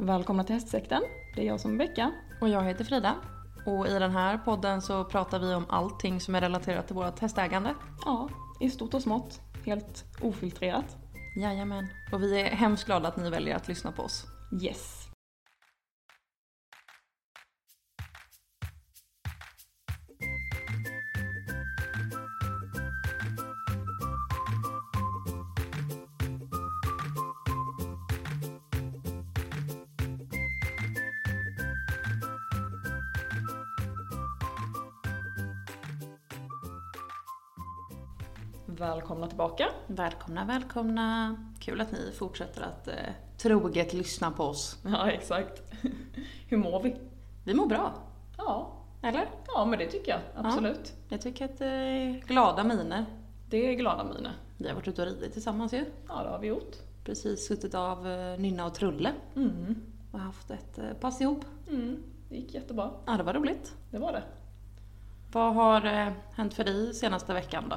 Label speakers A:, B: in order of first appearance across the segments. A: Välkomna till hästsekten. Det är jag som är Becka.
B: Och jag heter Frida. Och i den här podden så pratar vi om allting som är relaterat till vårt hästägande.
A: Ja, i stort och smått. Helt ofiltrerat.
B: Jajamän. Och vi är hemskt glada att ni väljer att lyssna på oss.
A: Yes. Välkomna tillbaka.
B: Välkomna, välkomna. Kul att ni fortsätter att eh, troget lyssna på oss.
A: Ja, exakt. Hur mår vi?
B: Vi mår bra,
A: Ja,
B: eller?
A: ja men det tycker jag. Absolut.
B: Jag tycker att det är glada miner.
A: Det är glada miner.
B: Vi har varit ute och ridit tillsammans ju.
A: Ja, det har vi gjort.
B: Precis suttit av eh, Nynna och Trulle
A: Mm.
B: och haft ett eh, pass ihop.
A: Mm. Det gick jättebra.
B: Ja, det var roligt.
A: Det var det.
B: Vad har eh, hänt för dig senaste veckan då?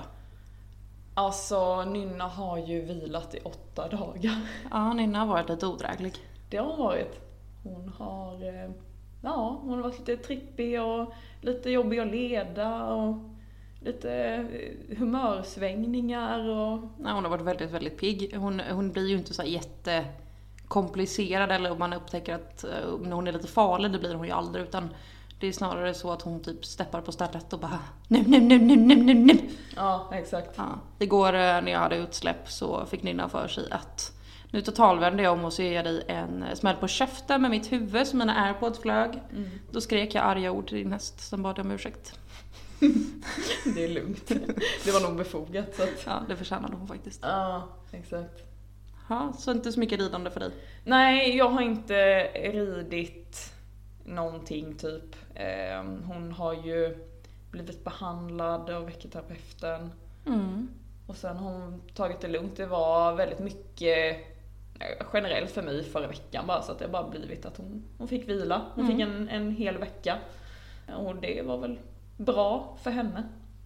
A: Alltså, Nynna har ju vilat i åtta dagar.
B: Ja, Nynna har varit lite odräglig.
A: Det har hon varit. Hon har, eh, ja, hon har varit lite trippig och lite jobbig att leda och lite eh, humörsvängningar och
B: Nej, hon har varit väldigt, väldigt pigg. Hon, hon blir ju inte så här jättekomplicerad eller om man upptäcker att eh, när hon är lite farlig, det blir hon ju aldrig. Utan det är snarare så att hon typ steppar på stället och bara nu, nu, nu, nu, nu, nu, nu.
A: ja, exakt.
B: Ja. Igår eh, när jag hade utsläpp så fick Nynna för sig att nu totalvände jag om och så ger jag dig en eh, smäll på käften med mitt huvud så mina airpods flög.
A: Mm.
B: Då skrek jag arga ord till din häst, sen bad jag om ursäkt.
A: Det är lugnt. Det var nog befogat så att,
B: Ja, det förtjänade hon faktiskt.
A: ja, exakt.
B: Ja, så inte så mycket lidande för dig.
A: Nej, jag har inte ridit någonting typ. Eh, Hon har ju blivit behandlad av veckoterapeuten.
B: Mm.
A: Och sen har hon tagit det lugnt. Det var väldigt mycket eh, generellt för mig förra veckan bara så att det har bara blivit att hon, hon fick vila. Hon
B: Mm.
A: fick en, en hel vecka. Och det var väl bra för henne.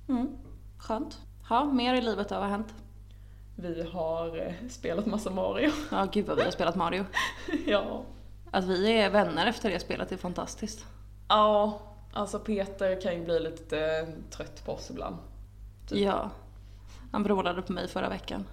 B: Mm. Skönt. Ja, mer i livet har hänt.
A: Vi har eh, spelat massa Mario.
B: Ja, gud vad vi har spelat Mario.
A: ja.
B: Att vi är vänner efter det spelet är fantastiskt.
A: ja, alltså Peter kan ju bli lite eh, trött på oss ibland. Typ.
B: Ja. Han brålade på mig förra veckan.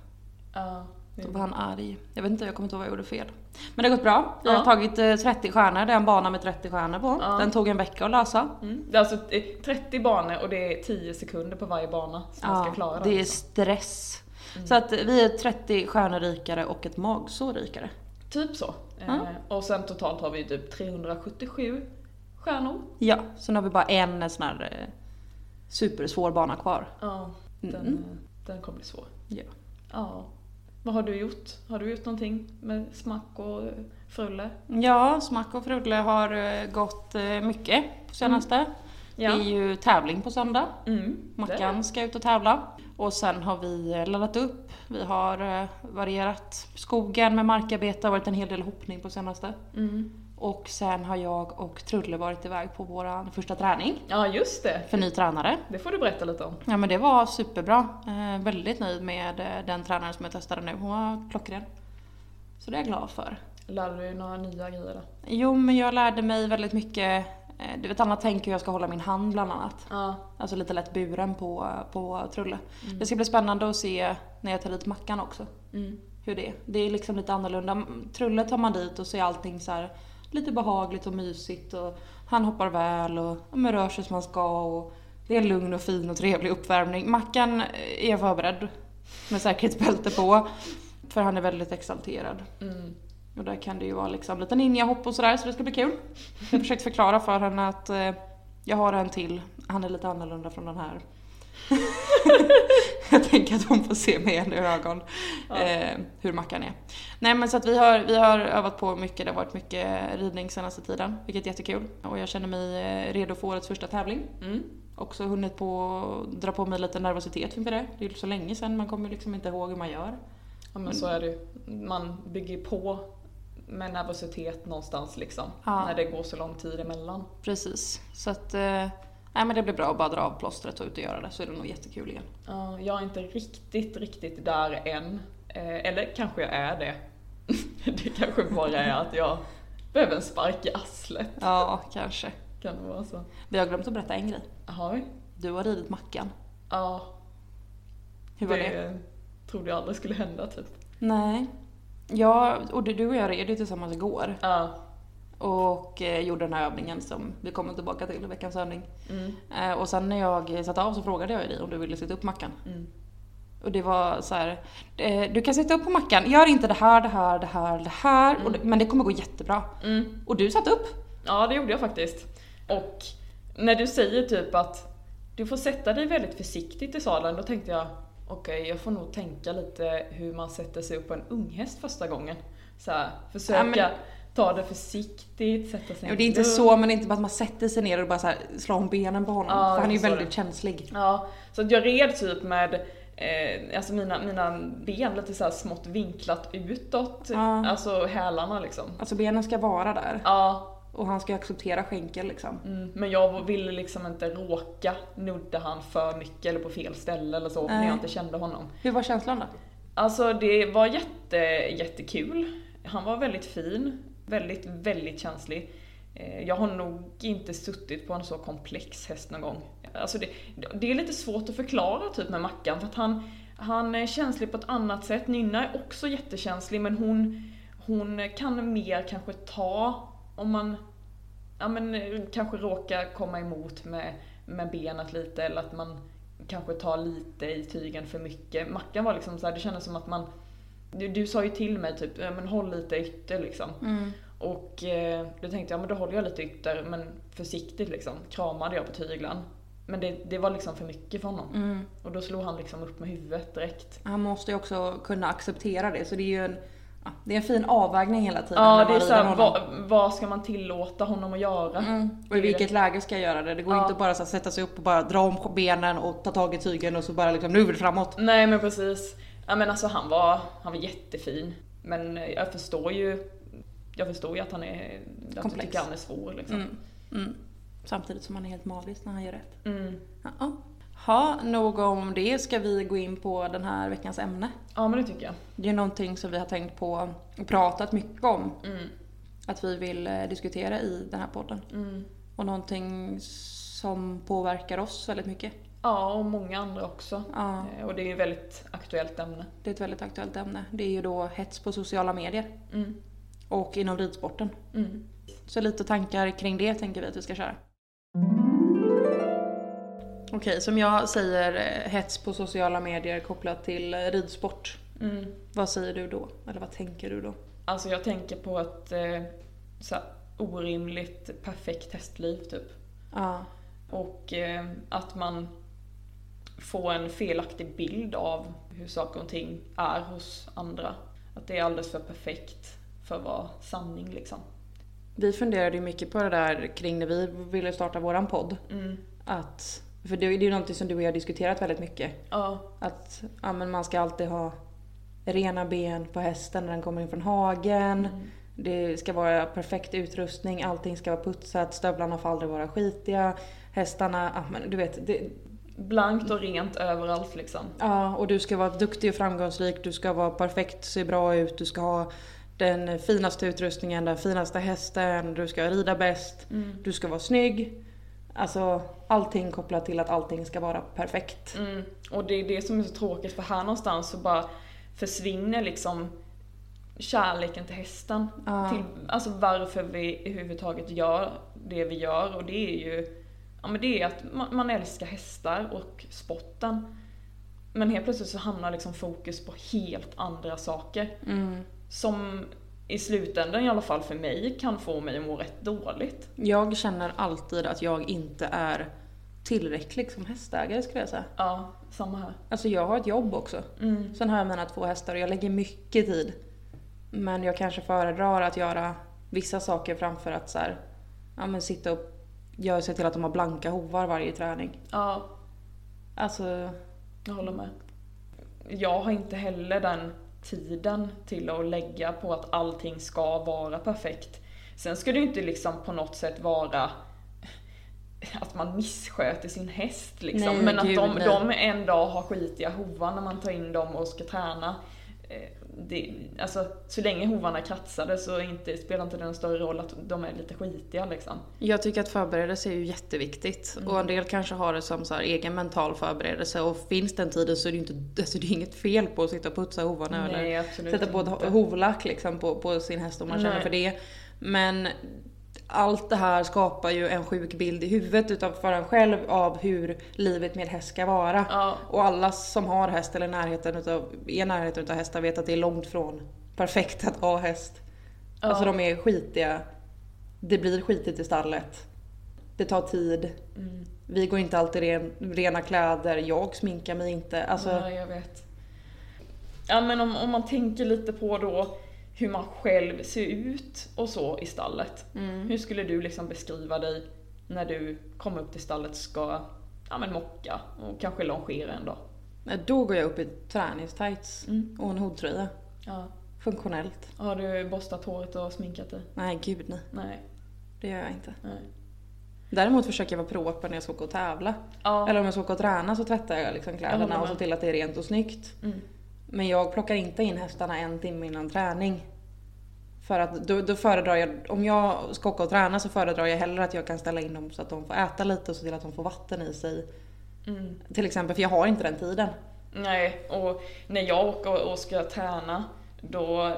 A: Ja, det-
B: Då var han arg. Jag vet inte, jag kommer inte ihåg vad jag gjorde fel. Men det har gått bra. Jag
A: Ja.
B: har tagit eh, 30 stjärnor, det är en bana med 30 stjärnor på.
A: Ja.
B: Den tog en vecka att lösa.
A: Mm. Det är alltså eh, 30 banor och det är 10 sekunder på varje bana som man ska klara.
B: det är
A: alltså.
B: stress. Så att vi är 30 stjärnor rikare och ett magsår rikare.
A: Typ så.
B: Ja.
A: Eh, och sen totalt har vi ju typ 377 stjärnor.
B: Ja, sen har vi bara en sån här eh, supersvår bana kvar.
A: Ja, den,
B: Mm.
A: eh, den kommer bli svår.
B: Ja.
A: Ja. Vad har du gjort? Har du gjort någonting med smack och eh, frulle?
B: Ja, Smack och Frulle har eh, gått eh, mycket på senaste. Det är ju tävling på söndag.
A: Mm.
B: Mackan ska ut och tävla. Och sen har vi eh, laddat upp. Vi har eh, varierat skogen med markarbete. Det har varit en hel del hoppning på senaste.
A: Det. Mm.
B: Och sen har jag och Trulle varit iväg på vår första träning
A: Ja, just det.
B: för ny tränare.
A: Det får du berätta lite om.
B: Ja men det var superbra. Eh, väldigt nöjd med eh, den tränaren som jag testade nu. Hon var klockren. Så det är jag glad för.
A: Lärde du dig några nya grejer där?
B: Jo, men jag lärde mig väldigt mycket. eh, Du vet, Anna tänker hur jag ska hålla min hand bland annat.
A: Ja.
B: Alltså lite lätt buren på, på Trulle. Det ska bli spännande att se när jag tar dit Mackan också.
A: Mm.
B: Hur det är. Det är liksom lite annorlunda. Mm, Trulle tar man dit och ser allting så här lite behagligt och mysigt. Och han hoppar väl och ja, men rör sig som han ska. Och det är en lugn och fin och trevlig uppvärmning. Mackan eh, är jag förberedd med säkerhetsbälte på. För han är väldigt exalterad.
A: Mm.
B: Och där kan det ju vara liksom lite ninjahopp och sådär, så det ska bli kul. Jag har försökt förklara för henne att eh, jag har en till, han är lite annorlunda från den här. jag tänker att hon får se med en i ögon
A: Ja.
B: eh, hur Mackan är. Nej men så att vi har, vi har övat på mycket, det har varit mycket ridning senaste tiden, vilket är jättekul. Och jag känner mig eh, redo för årets första tävling.
A: Mm.
B: Också hunnit på dra på mig lite nervositet inför det. Det är ju så länge sedan, man kommer ju liksom inte ihåg hur man gör.
A: Ja, men så är det ju. Man bygger på med nervositet någonstans liksom.
B: Ja.
A: När det går så lång tid emellan.
B: Precis. Så att, eh, nej men det blir bra att bara dra av plåstret och ut och göra det så är det nog jättekul igen.
A: Ja, jag är inte riktigt, riktigt där än. Eh, Eller kanske jag är det. Det kanske bara är att jag Behöver en spark i arslet.
B: Ja, kanske.
A: Kan det vara så?
B: Vi har glömt att berätta en grej.
A: Har vi?
B: Du har ridit Mackan.
A: Ja.
B: Hur var det?
A: trodde jag aldrig skulle hända typ.
B: Nej. Ja, och du- du och jag red ju tillsammans igår
A: Ja.
B: och eh, gjorde den här övningen som vi kommer tillbaka till i veckans övning.
A: Mm.
B: Eh, och sen när jag satte av så frågade jag ju dig om du ville sätta upp Mackan.
A: Mm.
B: Och det var så här, eh, du kan sätta upp på Mackan, gör inte det här, det här, det här, det här, och det, men det kommer gå jättebra.
A: Mm.
B: Och du satte upp.
A: Ja, det gjorde jag faktiskt. Och när du säger typ att du får sätta dig väldigt försiktigt i sadeln, då tänkte jag okej, jag får nog tänka lite hur man sätter sig upp på en unghäst första gången. Så här, försöka
B: Ja, men-
A: ta det försiktigt, sätta sig
B: Och det är inte
A: lugnt.
B: så, men det är inte bara att man sätter sig ner och bara så här, slår om benen på honom.
A: Ja,
B: för
A: jag
B: han är ju
A: förstår
B: väldigt
A: det.
B: känslig.
A: Ja, så att jag red typ med eh, alltså mina, mina ben lite så här smått vinklat utåt,
B: Ja.
A: alltså hälarna liksom.
B: Alltså benen ska vara där.
A: Ja,
B: Och han ska ju acceptera skänkel liksom.
A: Mm, men jag ville liksom inte råka nudda han för mycket eller på fel ställe eller så, när
B: Nej.
A: jag inte kände honom.
B: Hur var känslan då?
A: Alltså det var jätte, jättekul. Han var väldigt fin, väldigt, väldigt känslig. Eh, Jag har nog inte suttit på en så komplex häst någon gång. Alltså det, det är lite svårt att förklara typ med Mackan för att han, han är känslig på ett annat sätt. Nynna är också jättekänslig men hon, hon kan mer kanske ta om man ja, men, eh, kanske råkar komma emot med, med benet lite eller att man kanske tar lite i tygen för mycket. Mackan var liksom så här, det kändes som att man... Du, du sa ju till mig typ, "Ja, men håll lite ytter liksom. Och eh, då tänkte jag, men då håller jag lite ytter, men försiktigt liksom. Kramade jag på tyglan. Men det, det var liksom för mycket för honom.
B: Mm.
A: Och då slog han liksom upp med huvudet direkt.
B: Han måste ju också kunna acceptera det, så det är ju en, ja, det är en fin avvägning hela tiden
A: Ja, det
B: när man
A: är
B: rider
A: såhär,
B: honom.
A: vad, vad ska man tillåta honom att göra?
B: Mm. Och i vilket läge ska jag göra det? Det går
A: Ja.
B: inte att bara så här, sätta sig upp och bara dra om benen och ta tag i tygen och så bara liksom nu är det framåt.
A: Nej men precis. Ja, men alltså han var, han var jättefin. Men eh, jag förstår ju jag förstår ju att han är... Att du
B: Komplex.
A: tycker han är svår liksom.
B: Mm. Mm. Samtidigt som han är helt magisk när han gör rätt.
A: Mm.
B: Ja, ha, nog om det. Ska vi gå in på den här veckans ämne?
A: Ja men det tycker jag.
B: Det är någonting som vi har tänkt på och pratat mycket om
A: Mm.
B: att vi vill eh, diskutera i den här podden.
A: Mm.
B: Och någonting som påverkar oss väldigt mycket.
A: Ja och många andra också.
B: Ja,
A: Eh, Och det är ju ett väldigt aktuellt ämne.
B: det är ett väldigt aktuellt ämne. Det är ju då hets på sociala medier
A: Mm.
B: och inom ridsporten.
A: Mm.
B: Så lite tankar kring det tänker vi att vi ska köra. Okej, som jag säger eh, hets på sociala medier kopplat till eh, ridsport.
A: Mm.
B: Vad säger du då? Eller vad tänker du då?
A: Alltså jag tänker på ett eh, så här, orimligt perfekt hästliv typ.
B: Ja,
A: Och eh, att man får en felaktig bild av hur saker och ting är hos andra. Att det är alldeles för perfekt för att vara sanning liksom.
B: vi funderade ju mycket på det där kring när vi ville starta våran podd.
A: Mm.
B: Att, för det är ju någonting som du och jag har diskuterat väldigt mycket.
A: Ja,
B: Att ja, men man ska alltid ha rena ben på hästen när den kommer in från hagen. Det ska vara perfekt utrustning, allting ska vara putsat, stövlarna får aldrig vara skitiga. Hästarna, ja, men du vet. Det,
A: blankt och rent överallt liksom.
B: ja, och du ska vara duktig och framgångsrik, du ska vara perfekt, se bra ut, du ska ha den finaste utrustningen, den finaste hästen, du ska rida bäst,
A: Mm.
B: du ska vara snygg. Alltså allting kopplat till att allting ska vara perfekt.
A: Mm. Och det är det som är så tråkigt för här någonstans så bara försvinner liksom kärleken till hästen.
B: Ja.
A: Till, alltså varför vi överhuvudtaget gör det vi gör och det är ju ja, men det är att man, man älskar hästar och sporten. Men helt plötsligt så hamnar liksom fokus på helt andra saker.
B: Mm.
A: Som i slutändan i alla fall för mig kan få mig att må rätt dåligt.
B: Jag känner alltid att jag inte är tillräcklig som hästägare skulle jag säga.
A: Ja, samma här.
B: Alltså jag har ett jobb också.
A: Mm.
B: Sen har jag mina två hästar och jag lägger mycket tid. Men jag kanske föredrar att göra vissa saker framför att så här, ja, men sitta och göra se till att de har blanka hovar varje träning.
A: Ja,
B: Alltså,
A: Jag håller med. Jag har inte heller den tiden till att lägga på att allting ska vara perfekt. Sen ska det ju inte liksom på något sätt vara att man missköter sin häst liksom.
B: Nej,
A: Men
B: gud,
A: att de,
B: nej.
A: de en dag har skitiga hovar när man tar in dem och ska träna. eh, det, alltså, så länge hovarna kratsade så inte, spelar inte det någon större roll att de är lite skitiga liksom.
B: Jag tycker att förberedelse är ju jätteviktigt.
A: Mm.
B: Och en del kanske har det som så här, egen mental förberedelse. Och finns den tiden så är det ju inte, alltså, det är inget fel på att sitta och putsa hovarna. eller
A: Nej, absolut
B: sätta på
A: inte.
B: ett hovlack liksom på, på sin häst om man känner
A: Nej.
B: för det. Men allt det här skapar ju en sjuk bild i huvudet utav för en själv av hur livet med häst ska vara.
A: Ja.
B: Och alla som har häst eller närheten utav, är i närheten utav hästar vet att det är långt från perfekt att ha häst.
A: Ja.
B: Alltså de är skitiga. Det blir skitigt i stallet. Det tar tid.
A: Mm.
B: Vi går inte alltid i ren, rena kläder. Jag sminkar mig inte. Alltså,
A: Ja, jag vet. Ja, men om, om man tänker lite på då hur man själv ser ut och så i stallet.
B: Mm.
A: Hur skulle du liksom beskriva dig när du kommer upp till stallet ska ja, men mocka och kanske longera en dag?
B: Nej, Då går jag upp i träningstights
A: Mm.
B: och en hoodtröja.
A: Ja.
B: Funktionellt.
A: Har du borstat håret och sminkat dig?
B: Nej, gud nej.
A: Nej.
B: Det gör jag inte.
A: nej.
B: Däremot försöker jag vara proper när jag ska åka och tävla.
A: Ja.
B: Eller om jag ska åka och träna så tvättar jag liksom
A: Jag håller
B: kläderna och
A: med.
B: ser till att det är rent och snyggt.
A: Mm.
B: Men jag plockar inte in hästarna en timme innan träning. För att då, då föredrar jag, om jag ska åka och träna så föredrar jag hellre att jag kan ställa in dem så att de får äta lite och se till att de får vatten i sig.
A: Mm.
B: Till exempel, för jag har inte den tiden.
A: Nej, och när jag åker och ska träna då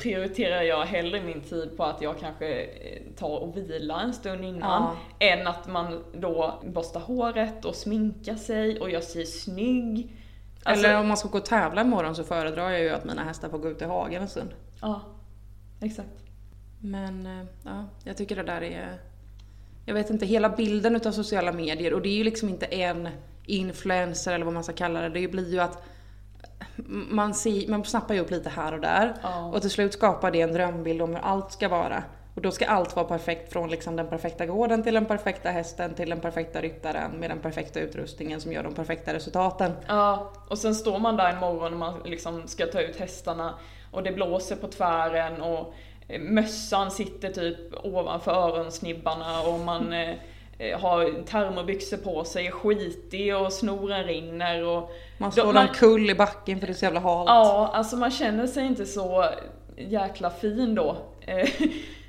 A: prioriterar jag hellre min tid på att jag kanske eh, tar och vilar en stund innan än att man då borstar håret och sminkar sig och jag ser snygg. Alltså,
B: Eller om man ska gå och tävla imorgon så föredrar jag ju att mina hästar får gå ut i hagen en stund.
A: Ja, exakt.
B: Men eh, ja, jag tycker det där är... Jag vet inte, hela bilden utav sociala medier och det är ju liksom inte en influencer eller vad man ska kalla det. Det blir ju att man, ser, man snappar ju upp lite här och där.
A: Ja.
B: Och till slut skapar det en drömbild om hur allt ska vara. Och då ska allt vara perfekt från liksom den perfekta gården till den perfekta hästen till den perfekta ryttaren med den perfekta utrustningen som gör de perfekta resultaten.
A: Ja, och sen står man där en morgon och man liksom ska ta ut hästarna och det blåser på tvären och eh, mössan sitter typ ovanför öronsnibbarna och man eh, eh, har termobyxor på sig, är skitig och snoren rinner och...
B: Man
A: Då-
B: slår
A: man-
B: omkull i backen för det är så jävla halt.
A: Ja, alltså man känner sig inte så jäkla fin då. Eh,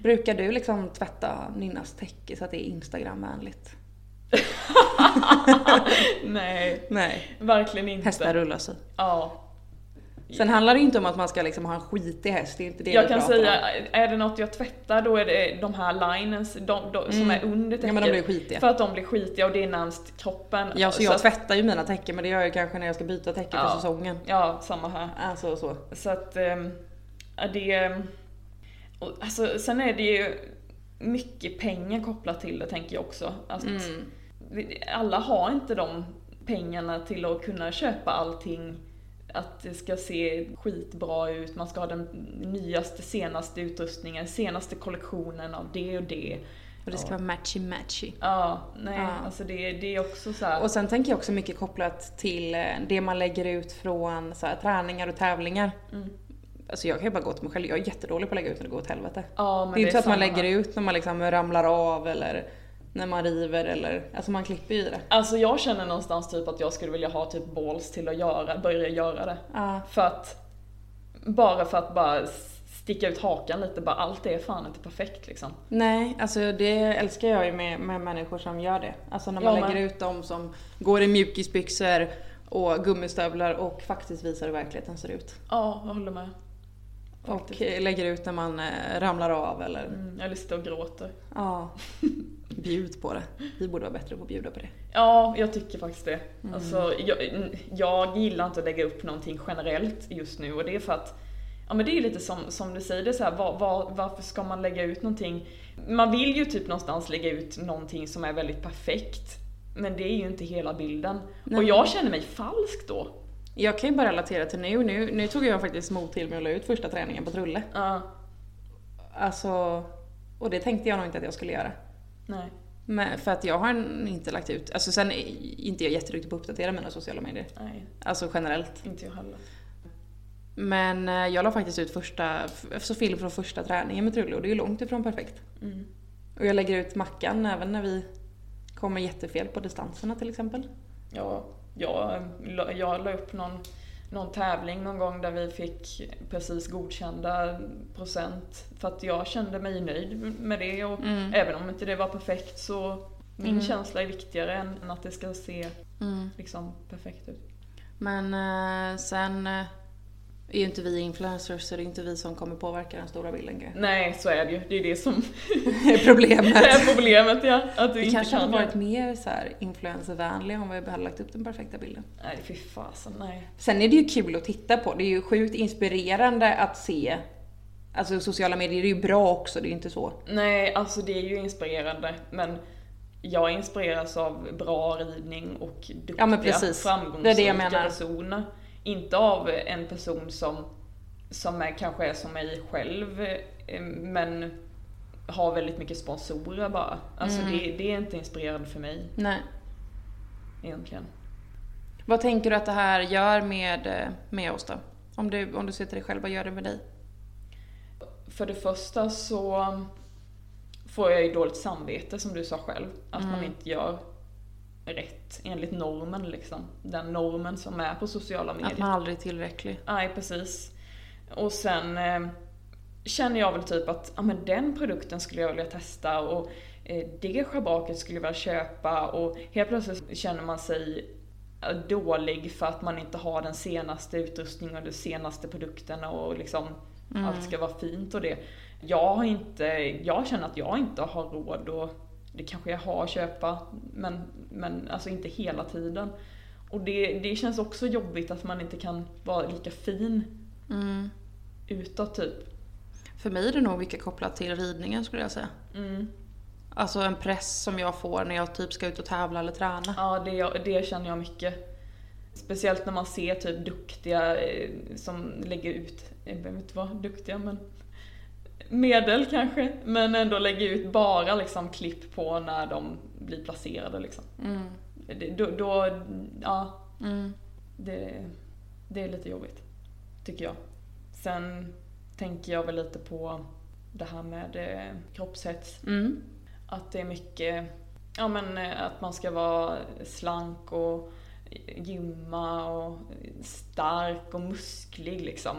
B: Brukar du liksom tvätta Ninnas täcke så att det är Instagramvänligt?
A: Nej,
B: Nej.
A: verkligen inte.
B: Hästar rullar sig.
A: Ja.
B: Sen handlar det ju inte om att man ska liksom ha en skitig häst, det är inte det vi
A: Jag kan
B: pratar
A: säga,
B: om.
A: är det något jag tvättar då är det de här linens de, de, som
B: Mm.
A: är under
B: Ja, men de
A: täcket.
B: blir skitiga.
A: För att de blir skitiga och det är närmst kroppen.
B: Ja, så jag
A: att-
B: tvättar ju mina täcken men det gör jag ju kanske när jag ska byta täcke
A: Ja.
B: för säsongen.
A: Ja, samma här.
B: Alltså så.
A: Så att ehm, ja, det... ehm, och, Alltså, sen är det ju mycket pengar kopplat till det tänker jag också. Att
B: Mm.
A: vi- Alla har inte de pengarna till att kunna köpa allting. Att det ska se skitbra ut, man ska ha den nyaste, senaste utrustningen, senaste kollektionen av det och det.
B: Och det ska
A: Ja.
B: vara matchy matchy.
A: Ja, nej,
B: Ja.
A: alltså det, det är också så här.
B: Och sen tänker jag också mycket kopplat till eh, det man lägger ut från så här, träningar och tävlingar.
A: Mm.
B: Alltså jag kan ju bara gå till mig själv, jag är jättedålig på att lägga ut när det går åt helvete.
A: ja, men
B: det är inte så att man
A: samma
B: lägger
A: här.
B: ut när man liksom ramlar av eller när man river eller, alltså man klipper ju i det.
A: Alltså jag känner någonstans typ att jag skulle vilja ha typ balls till att göra, börja göra det.
B: Ja.
A: För att, bara för att bara sticka ut hakan lite, bara allt är fan inte perfekt liksom.
B: Nej, alltså det älskar jag ju med, med människor som gör det. Alltså när man
A: Jag med.
B: lägger ut dem som går i mjukisbyxor och gummistövlar och faktiskt visar hur verkligheten ser ut.
A: Ja, jag håller med.
B: Och eh, lägger ut när man eh, ramlar av eller...
A: Mm, eller sitter och gråter.
B: Ja. Bjud på det. Vi borde vara bättre på att bjuda på det.
A: Ja, jag tycker faktiskt det. Alltså, jag, jag gillar inte att lägga upp någonting generellt just nu och det är för att Ja men det är ju lite som, som du säger, det är så här, var, var, varför ska man lägga ut någonting? Man vill ju typ någonstans lägga ut någonting som är väldigt perfekt. Men det är ju inte hela bilden.
B: Nej.
A: Och jag känner mig falsk då.
B: Jag kan ju bara relatera till nu. Nu, nu tog jag faktiskt mod till mig och la ut första träningen på Trulle.
A: Ja,
B: Alltså... Och det tänkte jag nog inte att jag skulle göra.
A: nej.
B: Men för att jag har inte lagt ut... Alltså sen är inte jag jätteduktig på att uppdatera mina sociala medier.
A: Nej,
B: Alltså generellt.
A: inte jag heller.
B: Men eh, jag la faktiskt ut första, f- så film från första träningen med Trulle och det är ju långt ifrån perfekt.
A: Mm.
B: Och jag lägger ut Mackan även när vi kommer jättefel på distanserna till exempel.
A: Ja, jag, la- jag la upp någon, någon tävling någon gång där vi fick precis godkända procent. För att jag kände mig nöjd med det och
B: Mm.
A: även om inte det var perfekt så min
B: Mm.
A: känsla är viktigare än än att det ska se
B: Mm.
A: liksom perfekt ut.
B: Men eh, sen eh, är ju inte vi influencers så det är inte vi som kommer påverka den stora bilden kanske.
A: Nej, så är det ju. Det är det som
B: Det är problemet.
A: är problemet ja. Att du
B: Vi
A: inte
B: kanske
A: kan
B: hade
A: det.
B: varit mer så här influencervänliga om vi hade lagt upp den perfekta bilden.
A: Nej, fy fasen nej.
B: Sen är det ju kul att titta på. Det är ju sjukt inspirerande att se. Alltså sociala medier är ju bra också, det är ju inte så.
A: Nej, alltså det är ju inspirerande men jag inspireras av bra ridning och duktiga,
B: Ja, men precis.
A: framgångsrika
B: Det är det jag menar.
A: personer. Inte av en person som, som är, kanske är som mig själv eh, men har väldigt mycket sponsorer bara. Alltså
B: Mm.
A: det, det är inte inspirerande för mig
B: Nej.
A: egentligen.
B: Vad tänker du att det här gör med, eh, med oss då? Om du, om du ser till dig själv, vad gör det med dig?
A: För det första så får jag ju dåligt samvete som du sa själv. Att man
B: Mm.
A: inte gör rätt enligt normen liksom. Den normen som är på sociala medier.
B: Att man aldrig är tillräcklig.
A: Nej, precis. Och sen eh, känner jag väl typ att ja, men den produkten skulle jag vilja testa och eh, det schabraket skulle jag vilja köpa och helt plötsligt känner man sig eh, dålig för att man inte har den senaste utrustningen och de senaste produkterna och liksom
B: Mm.
A: allt ska vara fint och det. Jag har inte, jag känner att jag inte har råd och det kanske jag har att köpa men, men alltså inte hela tiden. Och det, det känns också jobbigt att man inte kan vara lika fin
B: Mm.
A: utåt typ.
B: För mig är det nog mycket kopplat till ridningen skulle jag säga.
A: Mm.
B: Alltså en press som jag får när jag typ ska ut och tävla eller träna.
A: Ja, det, det känner jag mycket. Speciellt när man ser typ duktiga eh, som lägger ut, jag behöver inte vara duktiga men medel kanske, men ändå lägger ut bara liksom klipp på när de blir placerade liksom.
B: Mm.
A: Det, då, då, ja,
B: Mm.
A: det, det är lite jobbigt, tycker jag. Sen tänker jag väl lite på det här med eh, kroppshets.
B: Mm.
A: Att det är mycket, ja men eh, att man ska vara slank och gymma och stark och musklig liksom.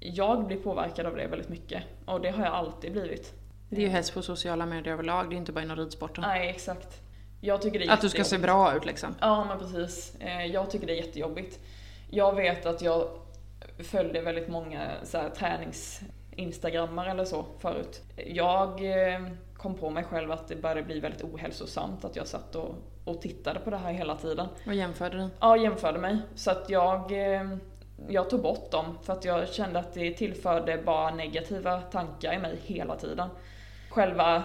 A: Jag blir påverkad av det väldigt mycket och det har jag alltid blivit. Eh,
B: Det är ju helst på sociala medier överlag, det är inte bara inom ridsporten.
A: Nej, exakt. Jag tycker det är
B: Att du ska se
A: jättejobbigt.
B: bra ut liksom.
A: Ja, men precis. Eh, Jag tycker det är jättejobbigt. Jag vet att jag följde väldigt många så här, träningsinstagrammar eller så förut. Jag eh, kom på mig själv att det började bli väldigt ohälsosamt att jag satt och, och tittade på det här hela tiden.
B: Vad jämförde du?
A: Ja, jämförde mig. Så att jag, eh, jag tog bort dem för att jag kände att det tillförde bara negativa tankar i mig hela tiden. Själva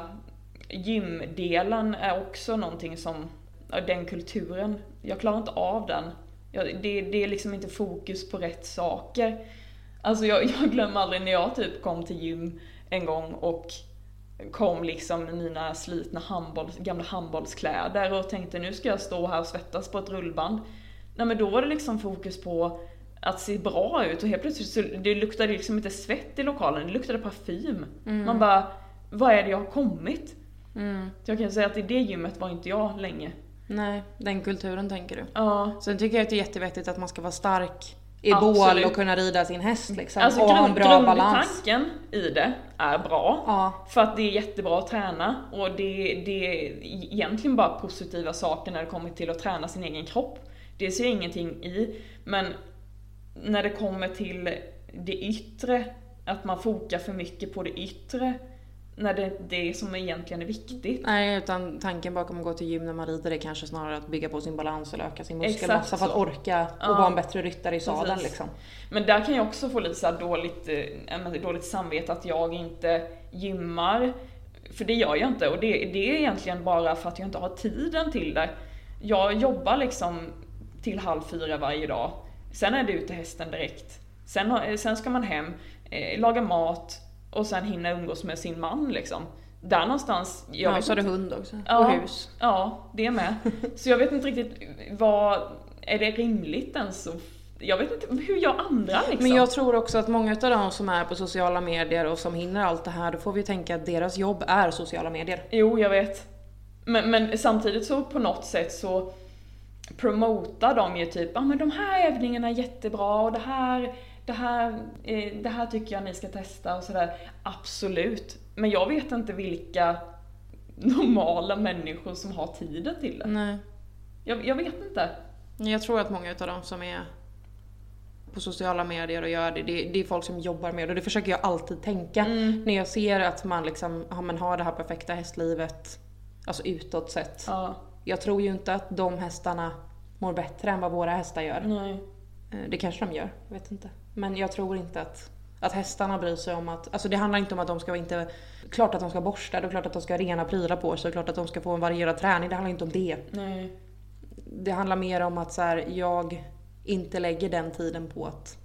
A: gymdelen är också någonting som, ja, den kulturen, jag klarar inte av den. Jag, det, det är liksom inte fokus på rätt saker. Alltså jag, jag glömmer aldrig när jag typ kom till gym en gång och kom liksom i mina slitna handboll, gamla handbollskläder och tänkte nu ska jag stå här och svettas på ett rullband. Nej men då var det liksom fokus på att se bra ut och helt plötsligt så det luktade liksom inte svett i lokalen, det luktade parfym. Man bara, vad är det jag har kommit?
B: Mm.
A: Så jag kan ju säga att i det gymmet var inte jag länge.
B: Nej, den kulturen tänker du.
A: Ja,
B: Sen tycker jag att det är jättevettigt att man ska vara stark i bål
A: Absolut.
B: och kunna rida sin häst liksom.
A: alltså
B: och ha en
A: grund,
B: bra balans.
A: grundtanken i det är bra.
B: Ja.
A: För att det är jättebra att träna och det, det är egentligen bara positiva saker när det kommer till att träna sin egen kropp. Det ser jag ingenting i. Men när det kommer till det yttre, att man fokar för mycket på det yttre, när det inte är det som egentligen är viktigt.
B: Nej, utan tanken bakom att gå till gym när man rider är kanske snarare att bygga på sin balans och öka sin muskelmassa
A: Exakt
B: för att
A: så.
B: orka och
A: Ja.
B: vara en bättre ryttare i sadeln
A: Precis.
B: liksom.
A: Men där kan jag också få lite så här dåligt, eh, ja, men dåligt samvete att jag inte gymmar. För det gör jag inte och det, det är egentligen bara för att jag inte har tiden till det. Jag jobbar liksom till halv fyra varje dag. Sen är det ute hästen direkt. Sen, har- eh, sen ska man hem, eh, laga mat och sen hinna umgås med sin man liksom. Där någonstans, jag
B: Ja,
A: vet
B: så har
A: inte-
B: du hund också.
A: Ja.
B: Och hus.
A: Ja, det med. Så jag vet inte riktigt vad... Är det rimligt ens att... Jag vet inte hur jag andra liksom.
B: Men jag tror också att många av de som är på sociala medier och som hinner allt det här, då får vi ju tänka att deras jobb är sociala medier.
A: Jo, jag vet. Men, men samtidigt så på något sätt så... promota dem ju typ, ja ah, men de här övningarna är jättebra och det här, det här, eh, det här tycker jag ni ska testa och sådär. Absolut. Men jag vet inte vilka normala människor som har tiden till det.
B: Nej.
A: Jag, jag vet inte.
B: Jag tror att många utav dem som är på sociala medier och gör det, det, det är folk som jobbar med det. Det försöker jag alltid tänka.
A: Mm.
B: När jag ser att man liksom, ja, men har det här perfekta hästlivet, alltså utåt sett.
A: Ja,
B: Jag tror ju inte att de hästarna mår bättre än vad våra hästar gör.
A: nej.
B: Eh, Det kanske de gör, jag vet inte. Men jag tror inte att, att hästarna bryr sig om att... Alltså det handlar inte om att de ska vara inte... Klart att de ska borsta, det är klart att de ska ha rena prylar på sig, och klart att de ska få en varierad träning. Det handlar inte om det.
A: nej.
B: Det handlar mer om att så här, jag inte lägger den tiden på att...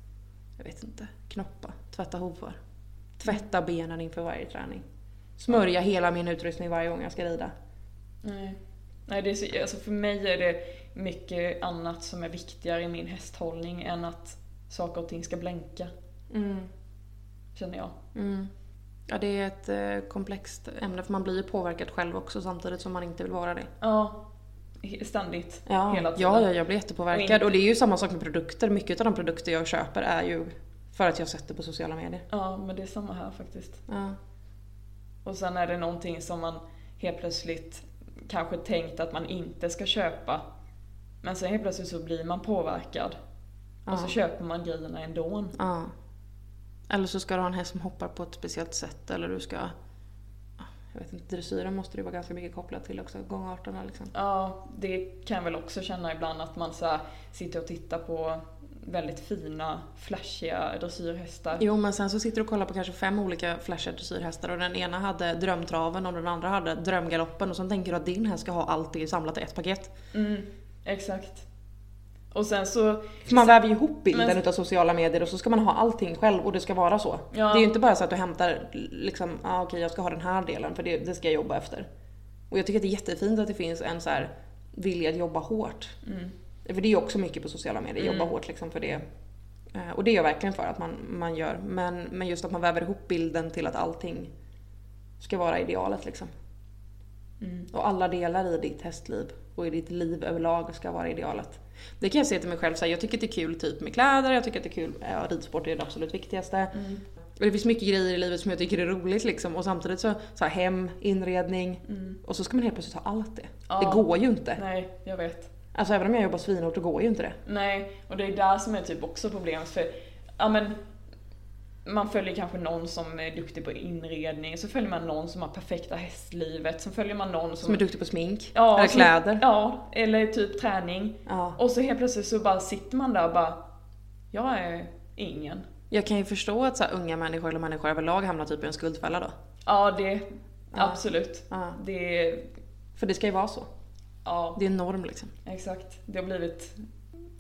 B: Jag vet inte. Knoppa, tvätta hovar. Tvätta benen inför varje träning. Smörja hela min utrustning varje gång jag ska rida.
A: Nej. Nej, det är så, alltså för mig är det mycket annat som är viktigare i min hästhållning än att saker och ting ska blänka, känner jag.
B: Mm. Ja, det är ett eh, komplext ämne för man blir ju påverkad själv också samtidigt som man inte vill vara det.
A: Ja, he- ständigt.
B: Ja,
A: Hela tiden.
B: ja, ja, jag blir
A: Och
B: jättepåverkad.
A: inte-
B: Och, det är ju samma sak med produkter. Mycket av de produkter jag köper är ju för att jag sett det på sociala medier.
A: Ja, men det är samma här faktiskt.
B: Ja.
A: Och sen är det någonting som man helt plötsligt kanske tänkt att man inte ska köpa. Men sen helt plötsligt så blir man påverkad.
B: Ja.
A: Och så köper man grejerna ändå.
B: ja. Eller så ska du ha en häst som hoppar på ett speciellt sätt eller du ska... ja, Jag vet inte, dressyren måste det vara ganska mycket kopplat till också. Gångarterna liksom.
A: Ja, det kan jag väl också känna ibland att man så här sitter och tittar på väldigt fina, flashiga dressyrhästar.
B: Jo men sen så sitter du och kollar på kanske fem olika flashiga dressyrhästar och den ena hade drömtraven och den andra hade drömgaloppen och sen tänker du att din häst ska ha allt det samlat i ett paket.
A: Mm, exakt. Och sen så...
B: För man väver ju ihop bilden
A: Men-
B: utav sociala medier och så ska man ha allting själv och det ska vara så.
A: Ja.
B: Det är ju inte bara så att du hämtar liksom, ah, okej jag ska ha den här delen för det, det ska jag jobba efter. Och jag tycker att det är jättefint att det finns en så här vilja att jobba hårt.
A: Mm,
B: För det är ju också mycket på sociala medier, jobba
A: Mm.
B: hårt liksom för det. Eh, Och det är jag verkligen för att man, man gör. Men, men just att man väver ihop bilden till att allting ska vara idealet liksom.
A: mm,
B: Och alla delar i ditt hästliv och i ditt liv överlag ska vara idealet. Det kan jag säga till mig själv, så här, jag tycker att det är kul typ med kläder, jag tycker att det är kul, ja, ridsport är det absolut viktigaste.
A: mm,
B: Och det finns mycket grejer i livet som jag tycker är roligt liksom och samtidigt så, så här, hem, inredning
A: mm.
B: och så ska man helt plötsligt ha allt det.
A: Ja.
B: Det går ju inte.
A: Nej, jag vet.
B: Alltså även om jag jobbar svinhårt så går ju inte det.
A: Nej, och det är där som är typ också problemet för, ja men man följer kanske någon som är duktig på inredning, så följer man någon som har perfekta hästlivet, så följer man någon som...
B: Som är duktig på smink,
A: Ja,
B: eller
A: som-
B: kläder.
A: Ja, eller typ träning.
B: Ja.
A: Och så helt plötsligt så bara sitter man där och bara, jag är ingen.
B: Jag kan ju förstå att så här, unga människor eller människor överlag hamnar typ i en skuldfälla då.
A: Ja, det,
B: Ja.
A: absolut.
B: Ja.
A: Det,
B: För det ska ju vara så.
A: ja,
B: Det är en norm liksom.
A: exakt. Det har blivit